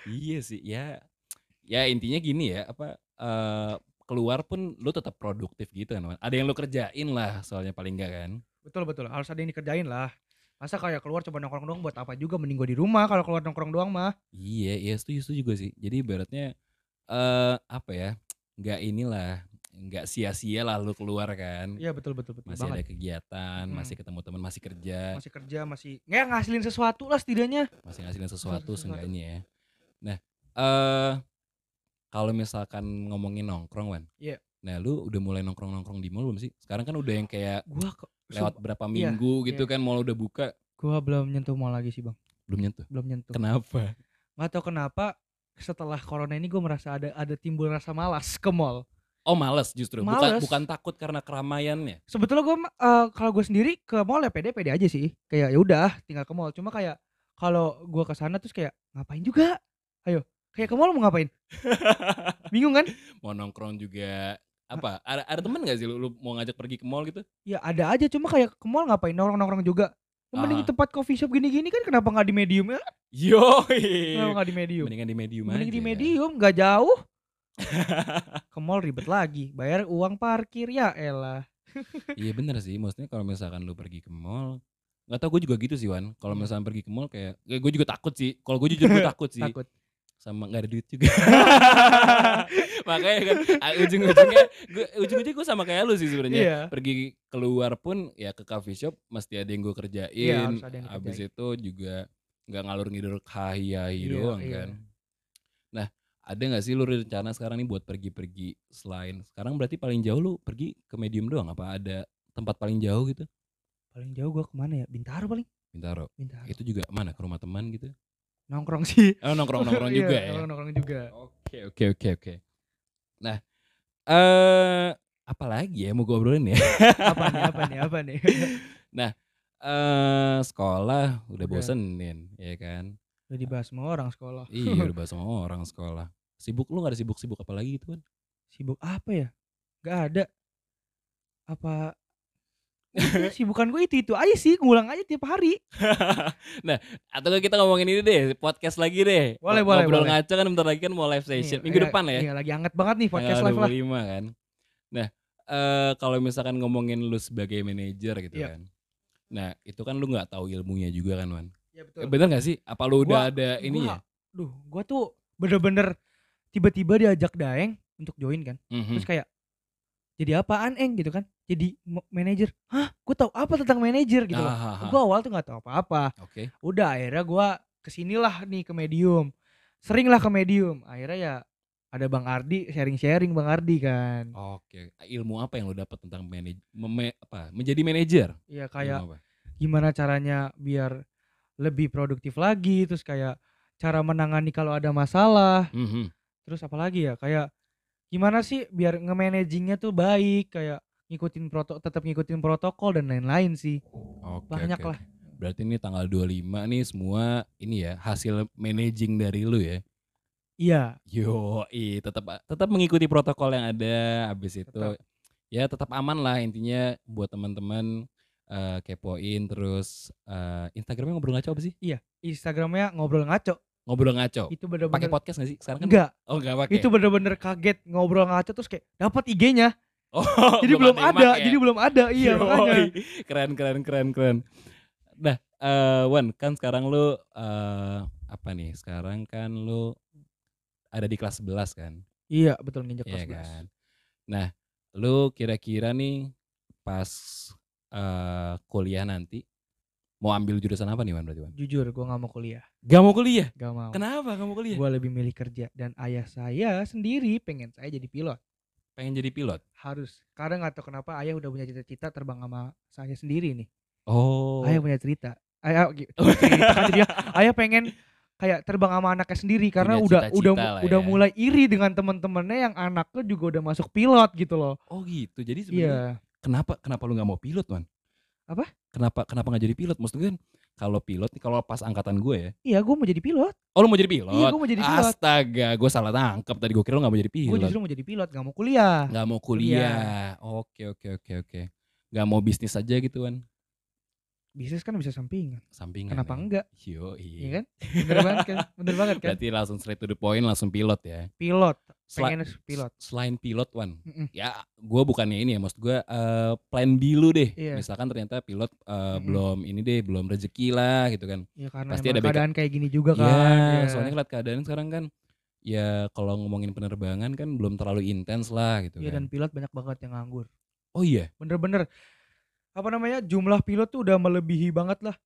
Speaker 1: Iya sih, ya ya intinya gini ya, apa eh, keluar pun lu tetap produktif gitu kan. Man. Ada yang lu kerjain lah soalnya paling enggak kan.
Speaker 2: betul betul harus ada yang dikerjain lah masa kayak keluar coba nongkrong doang buat apa juga mending gua di rumah kalau keluar nongkrong doang mah
Speaker 1: Iya, iya setuju setuju gue sih. Jadi ibaratnya eh apa ya? nggak inilah, nggak sia-sia lah lu keluar kan.
Speaker 2: iya betul betul betul
Speaker 1: Masih ada
Speaker 2: banget
Speaker 1: kegiatan,
Speaker 2: Hmm.
Speaker 1: masih ketemu teman, masih kerja,
Speaker 2: masih kerja masih nggak ngasilin sesuatu lah setidaknya
Speaker 1: masih ngasilin sesuatu
Speaker 2: sesuatu.
Speaker 1: seenggaknya ya. Nah, eh kalau misalkan ngomongin nongkrong, Wan.
Speaker 2: Iya.
Speaker 1: Nah, lu udah mulai nongkrong-nongkrong di mall belum sih? Sekarang kan udah yang kayak
Speaker 2: gua ke-
Speaker 1: lewat
Speaker 2: sum-
Speaker 1: berapa
Speaker 2: iya,
Speaker 1: minggu gitu kan mall udah buka,
Speaker 2: gua belum nyentuh mall lagi sih bang
Speaker 1: belum nyentuh.
Speaker 2: belum nyentuh
Speaker 1: Kenapa?
Speaker 2: nggak tahu kenapa setelah corona ini gua merasa ada ada timbul rasa malas ke mall
Speaker 1: Oh, males justru.
Speaker 2: Males.
Speaker 1: Bukan bukan takut karena keramaiannya.
Speaker 2: sebetulnya gue eh, kalau gue sendiri ke mall ya pede pede aja sih kayak ya udah tinggal ke mall cuma kayak kalau gua ke sana terus kayak ngapain juga ayo kayak ke mall mau ngapain bingung kan
Speaker 1: Mau nongkrong juga apa? Ada ada teman gak sih lu, lu mau ngajak pergi ke mall gitu?
Speaker 2: ya ada aja cuma kayak ke mall ngapain nongkrong nongkrong juga Yang mending
Speaker 1: Ah.
Speaker 2: tempat coffee shop gini gini kan kenapa nggak di medium ya
Speaker 1: Yo.
Speaker 2: kenapa nggak di medium
Speaker 1: Mendingan Iya, di medium
Speaker 2: mending
Speaker 1: aja.
Speaker 2: di medium nggak jauh ke mall ribet lagi bayar uang parkir ya elah
Speaker 1: Iya bener sih, maksudnya kalau misalkan lu pergi ke mall, nggak tau gue juga gitu sih Wan. Kalau
Speaker 2: Hmm.
Speaker 1: misalkan pergi ke mall kayak, ya gue juga takut sih. Kalau gue jujur gue takut sih,
Speaker 2: takut
Speaker 1: sama nggak ada duit juga. Makanya kan ah, ujung-ujungnya, gue ujung-ujungnya gue sama kayak lu sih sebenarnya.
Speaker 2: iya
Speaker 1: Pergi keluar pun ya ke coffee shop mesti ada yang gue kerjain.
Speaker 2: Iya, harus ada yang
Speaker 1: Abis itu juga nggak ngalur ngidur kahiyai
Speaker 2: Iya,
Speaker 1: doang
Speaker 2: iya.
Speaker 1: kan. Nah ada nggak sih lu rencana sekarang nih buat pergi-pergi selain sekarang berarti paling jauh lu pergi ke medium doang apa ada tempat paling jauh gitu?
Speaker 2: paling jauh gua kemana ya bintaro paling
Speaker 1: Bintaro.
Speaker 2: bintaro
Speaker 1: Itu juga mana ke rumah teman gitu?
Speaker 2: nongkrong sih
Speaker 1: Oh, nongkrong-nongkrong juga
Speaker 2: Iya,
Speaker 1: ya.
Speaker 2: nongkrong-nongkrong juga
Speaker 1: Oke, oke, oke, oke. Nah, eh apalagi ya mau gue obrolin ya?
Speaker 2: apa nih apa nih apa nih
Speaker 1: Eh sekolah udah
Speaker 2: Udah.
Speaker 1: bosenin, ya kan?
Speaker 2: udah dibahas sama orang sekolah
Speaker 1: Iya, udah bahas sama orang sekolah. Sibuk lu gak ada sibuk-sibuk apalagi gitu kan?
Speaker 2: sibuk apa ya nggak ada apa Udah, sibukan gue itu itu aja sih ngulang aja tiap hari
Speaker 1: Atau nggak kita ngomongin ini deh, podcast lagi deh.
Speaker 2: Boleh,
Speaker 1: Ngo-
Speaker 2: boleh,
Speaker 1: Ngobrol
Speaker 2: boleh.
Speaker 1: ngaco kan bentar lagi kan mau live session.
Speaker 2: Nih,
Speaker 1: Minggu
Speaker 2: iya,
Speaker 1: depan ya.
Speaker 2: iya lagi anget banget nih podcast
Speaker 1: tanggal
Speaker 2: live lah
Speaker 1: 25 kan. Nah, eh kalau misalkan ngomongin lu sebagai manajer gitu
Speaker 2: Iya.
Speaker 1: kan. Nah, itu kan lu nggak tahu ilmunya juga kan, Wan.
Speaker 2: ya, betul.
Speaker 1: Eh, ya? Bener gak sih? Apa lu udah
Speaker 2: Gua-
Speaker 1: ada
Speaker 2: Gua-
Speaker 1: ininya?
Speaker 2: duh gue tuh bener-bener tiba-tiba diajak daeng untuk join kan
Speaker 1: Mhm.
Speaker 2: terus kayak jadi apaan eng gitu kan jadi ma- manajer hah gue tahu apa tentang manajer gitu loh
Speaker 1: Ah, ah, ah.
Speaker 2: gue awal tuh nggak tahu apa-apa
Speaker 1: Oke.
Speaker 2: udah akhirnya gua kesinilah nih ke medium seringlah ke medium akhirnya ya ada bang Ardi sharing sharing bang Ardi kan
Speaker 1: Oke. Ilmu apa yang lu dapat tentang manaj- meme- apa? Menjadi manajer?
Speaker 2: ya kayak
Speaker 1: Ilmu apa?
Speaker 2: gimana caranya biar lebih produktif lagi terus kayak cara menangani kalau ada masalah
Speaker 1: Mhm.
Speaker 2: terus apalagi ya kayak gimana sih biar nge-managingnya tuh baik kayak ngikutin proto tetap ngikutin protokol dan lain-lain sih
Speaker 1: Oke,
Speaker 2: banyak
Speaker 1: oke,
Speaker 2: lah
Speaker 1: oke. Berarti ini tanggal 25 nih semua ini ya hasil managing dari lu ya.
Speaker 2: iya
Speaker 1: Yo, tetap tetap mengikuti protokol yang ada. Habis itu
Speaker 2: Tetap.
Speaker 1: ya tetap aman lah intinya buat teman-teman eh, kepoin terus eh, Instagramnya ngobrol ngaco apa sih?
Speaker 2: Instagramnya ngobrol ngaco
Speaker 1: Ngobrol ngaco.
Speaker 2: itu
Speaker 1: Pakai
Speaker 2: bener-bener
Speaker 1: podcast gak sih sekarang kan?
Speaker 2: enggak
Speaker 1: Oh, enggak pakai.
Speaker 2: itu bener-bener kaget ngobrol ngaco terus kayak dapat IG-nya
Speaker 1: Oh,
Speaker 2: jadi belum
Speaker 1: yang
Speaker 2: ada
Speaker 1: make ya?
Speaker 2: jadi belum ada iya
Speaker 1: Yoi.
Speaker 2: makanya
Speaker 1: Keren keren keren keren. Nah, eh Wan, kan sekarang lu eh apa nih? Sekarang kan lu ada di kelas 11 kan?
Speaker 2: Iya betul nginjak
Speaker 1: Iya
Speaker 2: kelas
Speaker 1: kan.
Speaker 2: 11.
Speaker 1: Nah, lu kira-kira nih pas eh kuliah nanti mau ambil jurusan apa nih Wan berarti Wan? Oh.
Speaker 2: Jujur gue nggak mau kuliah,
Speaker 1: Gak mau kuliah.
Speaker 2: gak mau.
Speaker 1: Eh, Kenapa gak mau kuliah?
Speaker 2: Gue lebih milih kerja dan ayah saya sendiri pengen saya jadi pilot
Speaker 1: Pengen jadi pilot.
Speaker 2: harus. Karena nggak tahu kenapa ayah udah punya cita-cita terbang sama saya sendiri nih.
Speaker 1: Oh.
Speaker 2: Ayah punya cerita. Ayah gi- cerita kan jadi ya. ayah pengen kayak terbang sama anaknya sendiri karena
Speaker 1: Punya
Speaker 2: udah
Speaker 1: cita-cita
Speaker 2: udah
Speaker 1: lah
Speaker 2: udah
Speaker 1: ya.
Speaker 2: mulai iri dengan temen-temennya yang anaknya juga udah masuk pilot gitu loh.
Speaker 1: Oh gitu. Jadi sebenarnya
Speaker 2: Iya.
Speaker 1: kenapa kenapa lu nggak mau pilot, Wan?
Speaker 2: Apa?
Speaker 1: Kenapa kenapa nggak jadi pilot? Maksudnya kan kalau pilot nih kalau pas angkatan gue ya.
Speaker 2: Iya, gue mau jadi pilot.
Speaker 1: Oh, lu mau jadi pilot?
Speaker 2: Iya, gue mau jadi pilot.
Speaker 1: Astaga, gue salah tangkap tadi gue kira lu Iya. gak mau jadi
Speaker 2: Gue
Speaker 1: pilot.
Speaker 2: justru mau jadi pilot, gak mau kuliah.
Speaker 1: Gak mau kuliah. Oke oke oke oke. Gak mau bisnis aja gitu kan?
Speaker 2: Bisnis kan bisa sampingan.
Speaker 1: Sampingan.
Speaker 2: Kenapa
Speaker 1: ya.
Speaker 2: enggak?
Speaker 1: Yo
Speaker 2: Iya kan? Bener banget kan? Bener banget kan?
Speaker 1: Berarti langsung straight to the point langsung pilot ya.
Speaker 2: Pilot,
Speaker 1: Sela-
Speaker 2: pengen pilot.
Speaker 1: s- Selain pilot Wan.
Speaker 2: Mm-mm.
Speaker 1: Ya, gue bukannya ini ya, maksud gue eh, plan B lu deh.
Speaker 2: Iya.
Speaker 1: Misalkan ternyata pilot eh,
Speaker 2: Mm-mm.
Speaker 1: belum ini deh, belum rezeki lah gitu kan.
Speaker 2: Ya karena
Speaker 1: Pasti
Speaker 2: emang
Speaker 1: ada backup.
Speaker 2: keadaan kayak gini juga kan.
Speaker 1: Iya,
Speaker 2: ya.
Speaker 1: soalnya lihat keadaan sekarang kan ya kalau ngomongin penerbangan kan belum terlalu intens lah gitu
Speaker 2: Iya,
Speaker 1: kan.
Speaker 2: dan pilot banyak banget yang nganggur.
Speaker 1: Oh iya,
Speaker 2: Bener-bener apa namanya jumlah pilot tuh udah melebihi banget lah.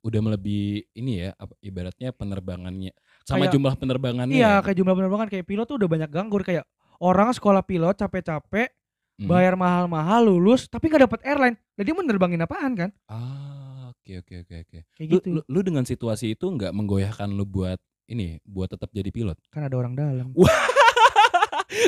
Speaker 1: udah melebihi ini ya apa- ibaratnya penerbangannya sama
Speaker 2: Kayak-
Speaker 1: jumlah penerbangannya.
Speaker 2: Iya,
Speaker 1: ya?
Speaker 2: kayak jumlah penerbangan kayak pilot tuh udah banyak ganggur kayak orang sekolah pilot capek-capek
Speaker 1: Mm.
Speaker 2: bayar mahal-mahal lulus tapi nggak dapat airline. Jadi menerbangin apaan kan?
Speaker 1: Ah, oke oke oke oke.
Speaker 2: Kayak
Speaker 1: Lu,
Speaker 2: gitu.
Speaker 1: lu, lu dengan situasi itu nggak menggoyahkan lu buat ini buat tetap jadi pilot.
Speaker 2: Kan ada orang dalam.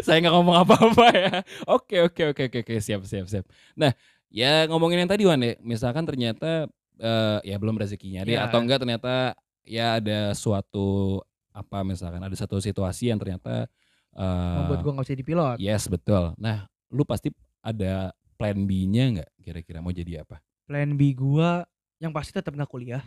Speaker 1: Saya nggak ngomong apa-apa ya. Oke oke oke oke oke siap siap siap. Nah ya ngomongin yang tadi Wan ya, misalkan ternyata eh, ya belum rezekinya deh
Speaker 2: Iya.
Speaker 1: atau enggak ternyata ya ada suatu apa misalkan ada satu situasi yang ternyata eh,
Speaker 2: Membuat gua nggak bisa jadi pilot.
Speaker 1: yes betul. Nah lu pasti ada plan B-nya nggak kira-kira mau jadi apa?
Speaker 2: Plan B gua yang pasti tetap nggak kuliah.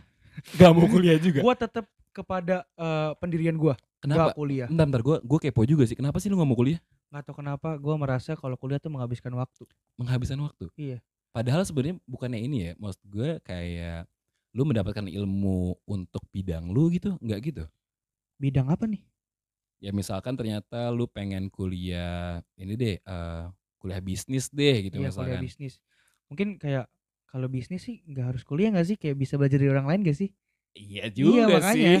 Speaker 1: Gak mau kuliah juga.
Speaker 2: Gua tetap kepada eh, pendirian gua,
Speaker 1: Kenapa?
Speaker 2: nggak kuliah.
Speaker 1: Bentar, bentar gue gue kepo juga sih. Kenapa sih lu nggak mau kuliah?
Speaker 2: Nggak tahu kenapa gua merasa kalau kuliah tuh menghabiskan waktu.
Speaker 1: Menghabiskan waktu.
Speaker 2: Iya.
Speaker 1: Padahal sebenarnya bukannya ini ya. Maksud gue kayak lu mendapatkan ilmu untuk bidang lu gitu, nggak gitu?
Speaker 2: Bidang apa nih?
Speaker 1: Ya misalkan ternyata lu pengen kuliah ini deh, eh, kuliah bisnis deh gitu
Speaker 2: Iya, kuliah
Speaker 1: misalkan.
Speaker 2: bisnis. Mungkin kayak kalau bisnis sih nggak harus kuliah nggak sih? Kayak bisa belajar dari orang lain nggak sih?
Speaker 1: Iya
Speaker 2: Iya,
Speaker 1: juga sih.
Speaker 2: makanya.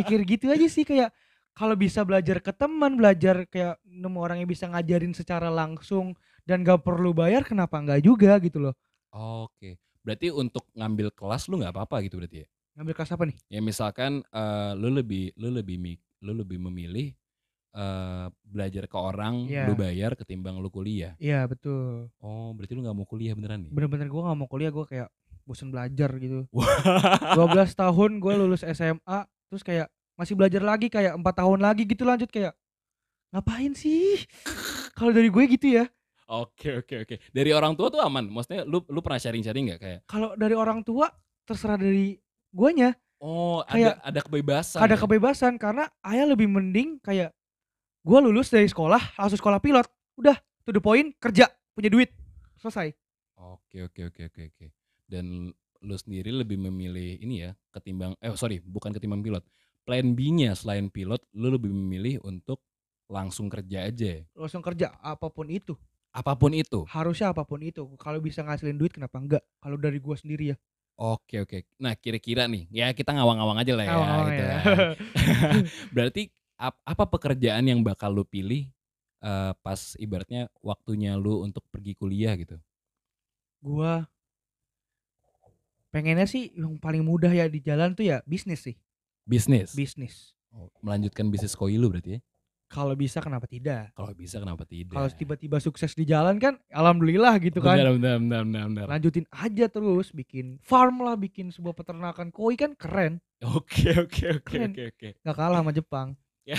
Speaker 2: mikir gitu aja sih kayak kalau bisa belajar ke teman belajar kayak nemu orang yang bisa ngajarin secara langsung dan gak perlu bayar kenapa nggak juga gitu loh
Speaker 1: Oke. Berarti untuk ngambil kelas lu nggak apa-apa gitu berarti ya?
Speaker 2: ngambil kelas apa nih
Speaker 1: Ya misalkan eh, lu lebih lu lebih mi- lu lebih memilih eh, belajar ke orang
Speaker 2: Iya.
Speaker 1: lu bayar ketimbang lu kuliah.
Speaker 2: iya betul
Speaker 1: Oh, berarti lu nggak mau kuliah beneran nih?
Speaker 2: bener-bener gue nggak mau kuliah gue kayak bosen belajar gitu
Speaker 1: Wah.
Speaker 2: 12 tahun gue lulus SMA terus kayak masih belajar lagi kayak empat tahun lagi gitu lanjut kayak ngapain sih kalau dari gue gitu ya
Speaker 1: Oke oke oke. Dari orang tua tuh aman. Maksudnya lu lu pernah sharing-sharing nggak kayak
Speaker 2: kalau dari orang tua terserah dari guanya
Speaker 1: oh
Speaker 2: Kayak-
Speaker 1: ada ada kebebasan.
Speaker 2: ada
Speaker 1: ya?
Speaker 2: kebebasan karena ayah lebih mending kayak gua lulus dari sekolah langsung sekolah pilot udah to the point kerja punya duit selesai
Speaker 1: Oke oke oke oke oke. Dan lu sendiri lebih memilih ini ya ketimbang eh sorry bukan ketimbang pilot. Plan B-nya selain pilot lu lebih memilih untuk langsung kerja aja. ya?
Speaker 2: langsung kerja apapun itu
Speaker 1: Apapun itu.
Speaker 2: harusnya apapun itu kalau bisa ngasilin duit kenapa enggak kalau dari gua sendiri ya
Speaker 1: Oke oke. Nah kira-kira nih ya kita ngawang-ngawang aja lah ya.
Speaker 2: Awang-awang
Speaker 1: gitu
Speaker 2: ya.
Speaker 1: kan. Berarti ap- apa pekerjaan yang bakal lu pilih eh, pas ibaratnya waktunya lu untuk pergi kuliah gitu?
Speaker 2: gua pengennya sih yang paling mudah ya di jalan tuh ya bisnis sih
Speaker 1: Bisnis.
Speaker 2: bisnis
Speaker 1: Oh, melanjutkan bisnis koi lu berarti ya?
Speaker 2: kalau bisa kenapa tidak
Speaker 1: Kalau bisa kenapa tidak?
Speaker 2: kalau tiba-tiba sukses di jalan kan alhamdulillah gitu kan
Speaker 1: Benar, benar, benar, benar, benar.
Speaker 2: lanjutin aja terus bikin farm lah bikin sebuah peternakan koi kan keren
Speaker 1: Oke, oke, oke,
Speaker 2: Keren.
Speaker 1: oke, oke.
Speaker 2: nggak kalah sama Jepang
Speaker 1: Ya,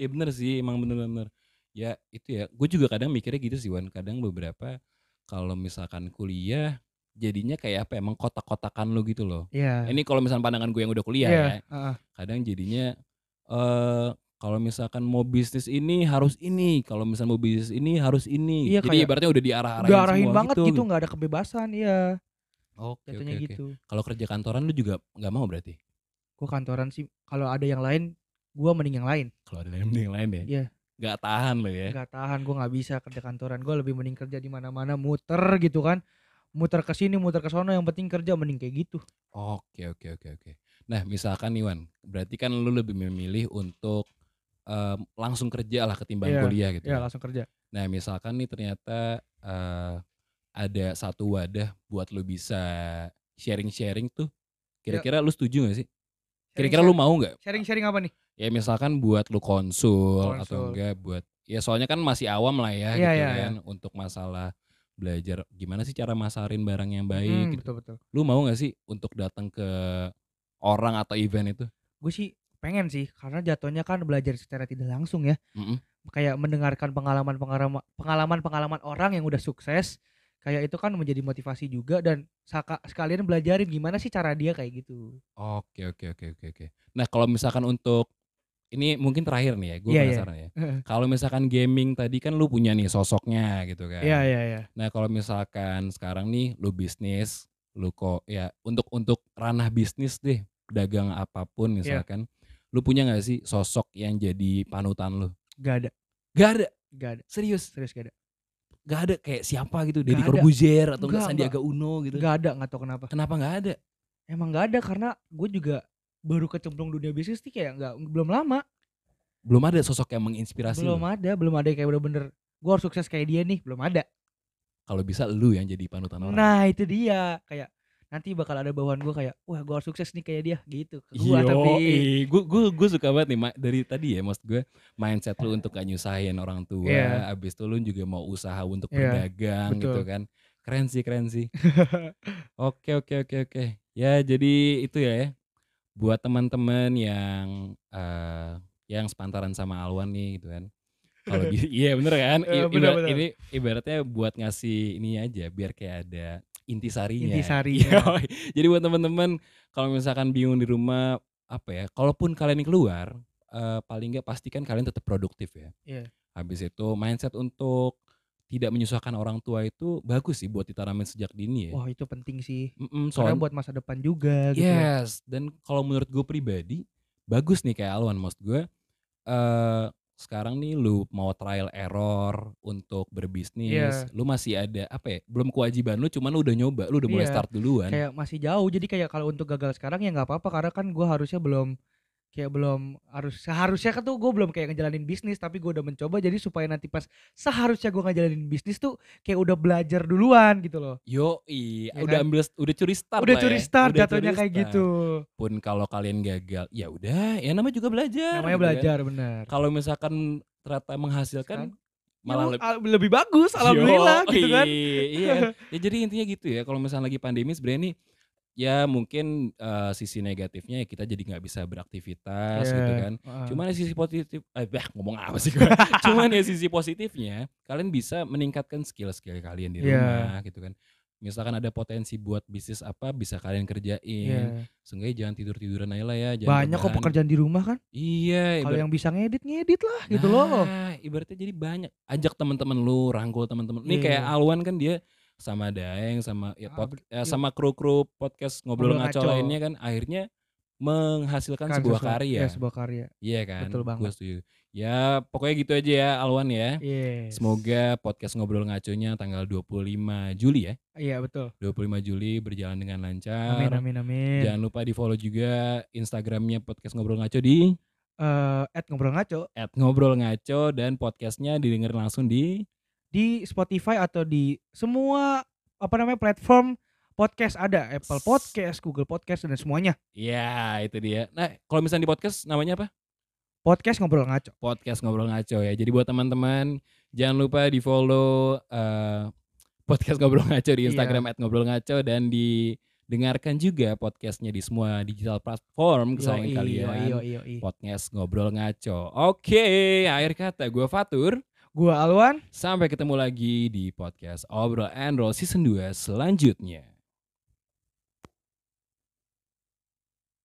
Speaker 1: ya benar sih, emang benar-benar. Ya itu ya, gue juga kadang mikirnya gitu sih Wan. Kadang beberapa kalau misalkan kuliah jadinya kayak apa ya, mengkotak-kotakan lu gitu loh.
Speaker 2: Iya.
Speaker 1: Ini kalau misalkan pandangan gue yang udah kuliah
Speaker 2: Iya,
Speaker 1: ya. kadang jadinya eh kalau misalkan mau bisnis ini harus ini, kalau misalkan mau bisnis ini harus ini.
Speaker 2: Iya,
Speaker 1: Jadi
Speaker 2: kayak
Speaker 1: ibaratnya udah diarah-arahin
Speaker 2: Udah arahin
Speaker 1: semua
Speaker 2: banget
Speaker 1: gitu.
Speaker 2: gitu, nggak ada kebebasan, iya.
Speaker 1: Oke, oke,
Speaker 2: jatuhnya
Speaker 1: oke.
Speaker 2: gitu
Speaker 1: Kalau kerja kantoran lu juga nggak mau berarti?
Speaker 2: gua kantoran sih kalau ada yang lain gua mending yang lain
Speaker 1: Kalau ada yang mending lain ya?
Speaker 2: Iya.
Speaker 1: Nggak tahan lo ya?
Speaker 2: nggak tahan gua nggak bisa kerja kantoran gua lebih mending kerja di mana-mana muter gitu kan muter ke sini muter ke sono yang penting kerja mending kayak gitu
Speaker 1: Oke, oke, oke, oke. Nah, misalkan nih Wan, berarti kan lu lebih memilih untuk em, langsung kerja lah ketimbang
Speaker 2: Iya,
Speaker 1: kuliah gitu.
Speaker 2: ya
Speaker 1: kan.
Speaker 2: langsung kerja
Speaker 1: Nah, misalkan nih ternyata eh, ada satu wadah buat lu bisa sharing-sharing tuh.
Speaker 2: Iya.
Speaker 1: Kira-kira lu setuju gak sih? Kira-kira lu mau nggak?
Speaker 2: sharing-sharing apa nih
Speaker 1: Ya misalkan buat lu konsul, atau
Speaker 2: Konsul.
Speaker 1: enggak buat ya soalnya kan masih awam lah ya
Speaker 2: Iya,
Speaker 1: gitu
Speaker 2: iya,
Speaker 1: kan untuk masalah belajar gimana sih cara masarin barang yang baik
Speaker 2: Hmm,
Speaker 1: gitu.
Speaker 2: betul betul
Speaker 1: Lu mau nggak sih untuk datang ke orang atau event itu?
Speaker 2: gue sih pengen sih karena jatuhnya kan belajar secara tidak langsung ya
Speaker 1: Mm-mm.
Speaker 2: kayak mendengarkan pengalaman pengalaman pengalaman pengalaman orang yang udah sukses kayak itu kan menjadi motivasi juga dan saka- sekalian belajarin gimana sih cara dia kayak gitu
Speaker 1: Oke oke oke oke oke. Nah kalau misalkan untuk ini mungkin terakhir nih ya, gue
Speaker 2: Iya, iya.
Speaker 1: penasaran ya. Kalau misalkan gaming tadi kan lu punya nih sosoknya gitu kan.
Speaker 2: Iya iya iya.
Speaker 1: Nah kalau misalkan sekarang nih lu bisnis, lu kok ya untuk untuk ranah bisnis deh, dagang
Speaker 2: Iya.
Speaker 1: apapun misalkan, lu punya nggak sih sosok yang jadi panutan lu?
Speaker 2: Gak ada
Speaker 1: Gak ada,
Speaker 2: gak ada
Speaker 1: serius,
Speaker 2: serius gak ada
Speaker 1: gak ada kayak siapa gitu, Deddy
Speaker 2: Nggak ada.
Speaker 1: Corbuzier atau
Speaker 2: Nggak,
Speaker 1: nggak Sandiaga Uno gitu.
Speaker 2: gak ada nggak tau kenapa
Speaker 1: Kenapa nggak ada?
Speaker 2: emang gak ada karena gue juga baru kecemplung dunia bisnis nih kayak nggak belum lama
Speaker 1: Belum ada sosok yang menginspirasi
Speaker 2: belum
Speaker 1: lu.
Speaker 2: ada belum ada yang kayak bener-bener gue harus sukses kayak dia nih belum ada
Speaker 1: Kalau bisa lu yang jadi panutan orang.
Speaker 2: Nah itu dia kayak nanti bakal ada bawaan gue kayak wah gue harus sukses nih kayak dia gitu. Ke Gua
Speaker 1: Iya,
Speaker 2: tapi
Speaker 1: gue gue gue suka banget nih Ma- dari tadi ya maksud gue mindset lu untuk gak nyusahin orang tua,
Speaker 2: Iya.
Speaker 1: abis itu lu juga mau usaha untuk
Speaker 2: Iya,
Speaker 1: berdagang gitu
Speaker 2: betul.
Speaker 1: kan, keren sih keren sih. oke oke oke oke, ya jadi itu ya, ya. buat teman-teman yang eh, yang sepantaran sama Alwan nih gitu kan, kalau bi- iya bener kan, I-
Speaker 2: Eh, bener,
Speaker 1: ibarat-
Speaker 2: bener.
Speaker 1: ini ibaratnya buat ngasih ini aja biar kayak ada intisarinya.
Speaker 2: Intisarinya.
Speaker 1: Yoi. Jadi buat teman-teman kalau misalkan bingung di rumah apa ya kalaupun kalian keluar eh, paling nggak pastikan kalian tetap produktif ya
Speaker 2: Iya.
Speaker 1: habis itu mindset untuk tidak menyusahkan orang tua itu bagus sih buat ditanamin sejak dini ya
Speaker 2: wah itu penting sih.
Speaker 1: Mm-mm,
Speaker 2: Karena
Speaker 1: soal- Iya,
Speaker 2: buat masa depan juga gitu. loh.
Speaker 1: yes dan kalau menurut gue pribadi bagus nih kayak Alwan maksud gue eh sekarang nih lu mau trial error untuk berbisnis
Speaker 2: Iya.
Speaker 1: lu masih ada apa ya belum kewajiban lu cuman lu udah nyoba lu udah mulai
Speaker 2: Iya.
Speaker 1: start duluan
Speaker 2: Kayak masih jauh jadi kayak kalau untuk gagal sekarang ya nggak apa-apa karena kan gue harusnya belum kayak belum harus seharusnya kan tuh gue belum kayak ngejalanin bisnis tapi gue udah mencoba jadi supaya nanti pas seharusnya gue ngejalanin bisnis tuh kayak udah belajar duluan gitu loh.
Speaker 1: Yo, i,
Speaker 2: Ya
Speaker 1: udah
Speaker 2: kan?
Speaker 1: ambil udah curi start
Speaker 2: Udah
Speaker 1: lah
Speaker 2: curi
Speaker 1: ya.
Speaker 2: start
Speaker 1: Udah
Speaker 2: jatuhnya
Speaker 1: curi
Speaker 2: kayak
Speaker 1: start.
Speaker 2: gitu.
Speaker 1: Pun kalau kalian gagal, ya udah, ya namanya juga belajar. gitu
Speaker 2: Namanya
Speaker 1: kan.
Speaker 2: belajar bener.
Speaker 1: Kalau misalkan ternyata menghasilkan malah
Speaker 2: Ya,
Speaker 1: lebih
Speaker 2: al- lebih bagus alhamdulillah
Speaker 1: Yo,
Speaker 2: gitu kan
Speaker 1: i, Iya. Ya jadi intinya gitu ya, kalau misalnya lagi pandemi sebenarnya nih ya mungkin eh, sisi negatifnya ya kita jadi nggak bisa beraktivitas gitu
Speaker 2: Iya,
Speaker 1: kan.
Speaker 2: heeh.
Speaker 1: Cuman ya sisi positif, eh bah, ngomong apa sih gue? Cuman ya sisi positifnya, kalian bisa meningkatkan skill-skill kalian di
Speaker 2: Iya.
Speaker 1: rumah gitu kan. Misalkan ada potensi buat bisnis apa bisa kalian
Speaker 2: Iya.
Speaker 1: kerjain. Seenggaknya jangan tidur-tiduran aja lah ya. jangan
Speaker 2: banyak kok
Speaker 1: rebahan.
Speaker 2: pekerjaan di rumah kan
Speaker 1: Iya.
Speaker 2: kalau
Speaker 1: ibarat-
Speaker 2: yang bisa ngedit ngedit lah gitu loh
Speaker 1: Nah, ibaratnya jadi banyak. Ajak teman-teman lu, rangkul teman-teman. Ini
Speaker 2: Iya.
Speaker 1: kayak Alwan kan dia sama Daeng sama ya,
Speaker 2: Ah,
Speaker 1: pod-
Speaker 2: bet-
Speaker 1: eh, sama kru-kru podcast ngobrol,
Speaker 2: Ngobrol
Speaker 1: ngaco,
Speaker 2: Ngaco.
Speaker 1: lainnya kan akhirnya menghasilkan
Speaker 2: Kan
Speaker 1: sebuah
Speaker 2: sesuatu-
Speaker 1: karya.
Speaker 2: ya, sebuah karya
Speaker 1: Iya kan?
Speaker 2: Betul
Speaker 1: Gua
Speaker 2: banget.
Speaker 1: setuju. Ya pokoknya gitu aja ya Alwan ya.
Speaker 2: Yes.
Speaker 1: Semoga podcast ngobrol ngaconya tanggal 25 Juli ya.
Speaker 2: iya betul
Speaker 1: 25 Juli berjalan dengan lancar.
Speaker 2: amin amin amin
Speaker 1: Jangan lupa di follow juga Instagramnya podcast ngobrol ngaco di
Speaker 2: Eh, at ngobrol ngaco
Speaker 1: @ngobrol ngaco dan podcastnya didengar langsung di
Speaker 2: di Spotify atau di semua apa namanya platform podcast ada Apple Podcast Google Podcast dan semuanya
Speaker 1: Ya itu dia. Nah kalau misalnya di podcast namanya apa?
Speaker 2: podcast ngobrol ngaco
Speaker 1: Podcast ngobrol ngaco ya. Jadi buat teman-teman jangan lupa di follow eh, podcast ngobrol ngaco di
Speaker 2: Iya.
Speaker 1: Instagram @ngobrol ngaco dan didengarkan juga podcastnya di semua digital platform kesayangan
Speaker 2: Yoi,
Speaker 1: kalian.
Speaker 2: yoi, yoi, yoi.
Speaker 1: Podcast ngobrol ngaco. Oke, akhir kata gue Fatur.
Speaker 2: gua Alwan
Speaker 1: Sampai ketemu lagi di podcast Obrol and Roll season 2 selanjutnya.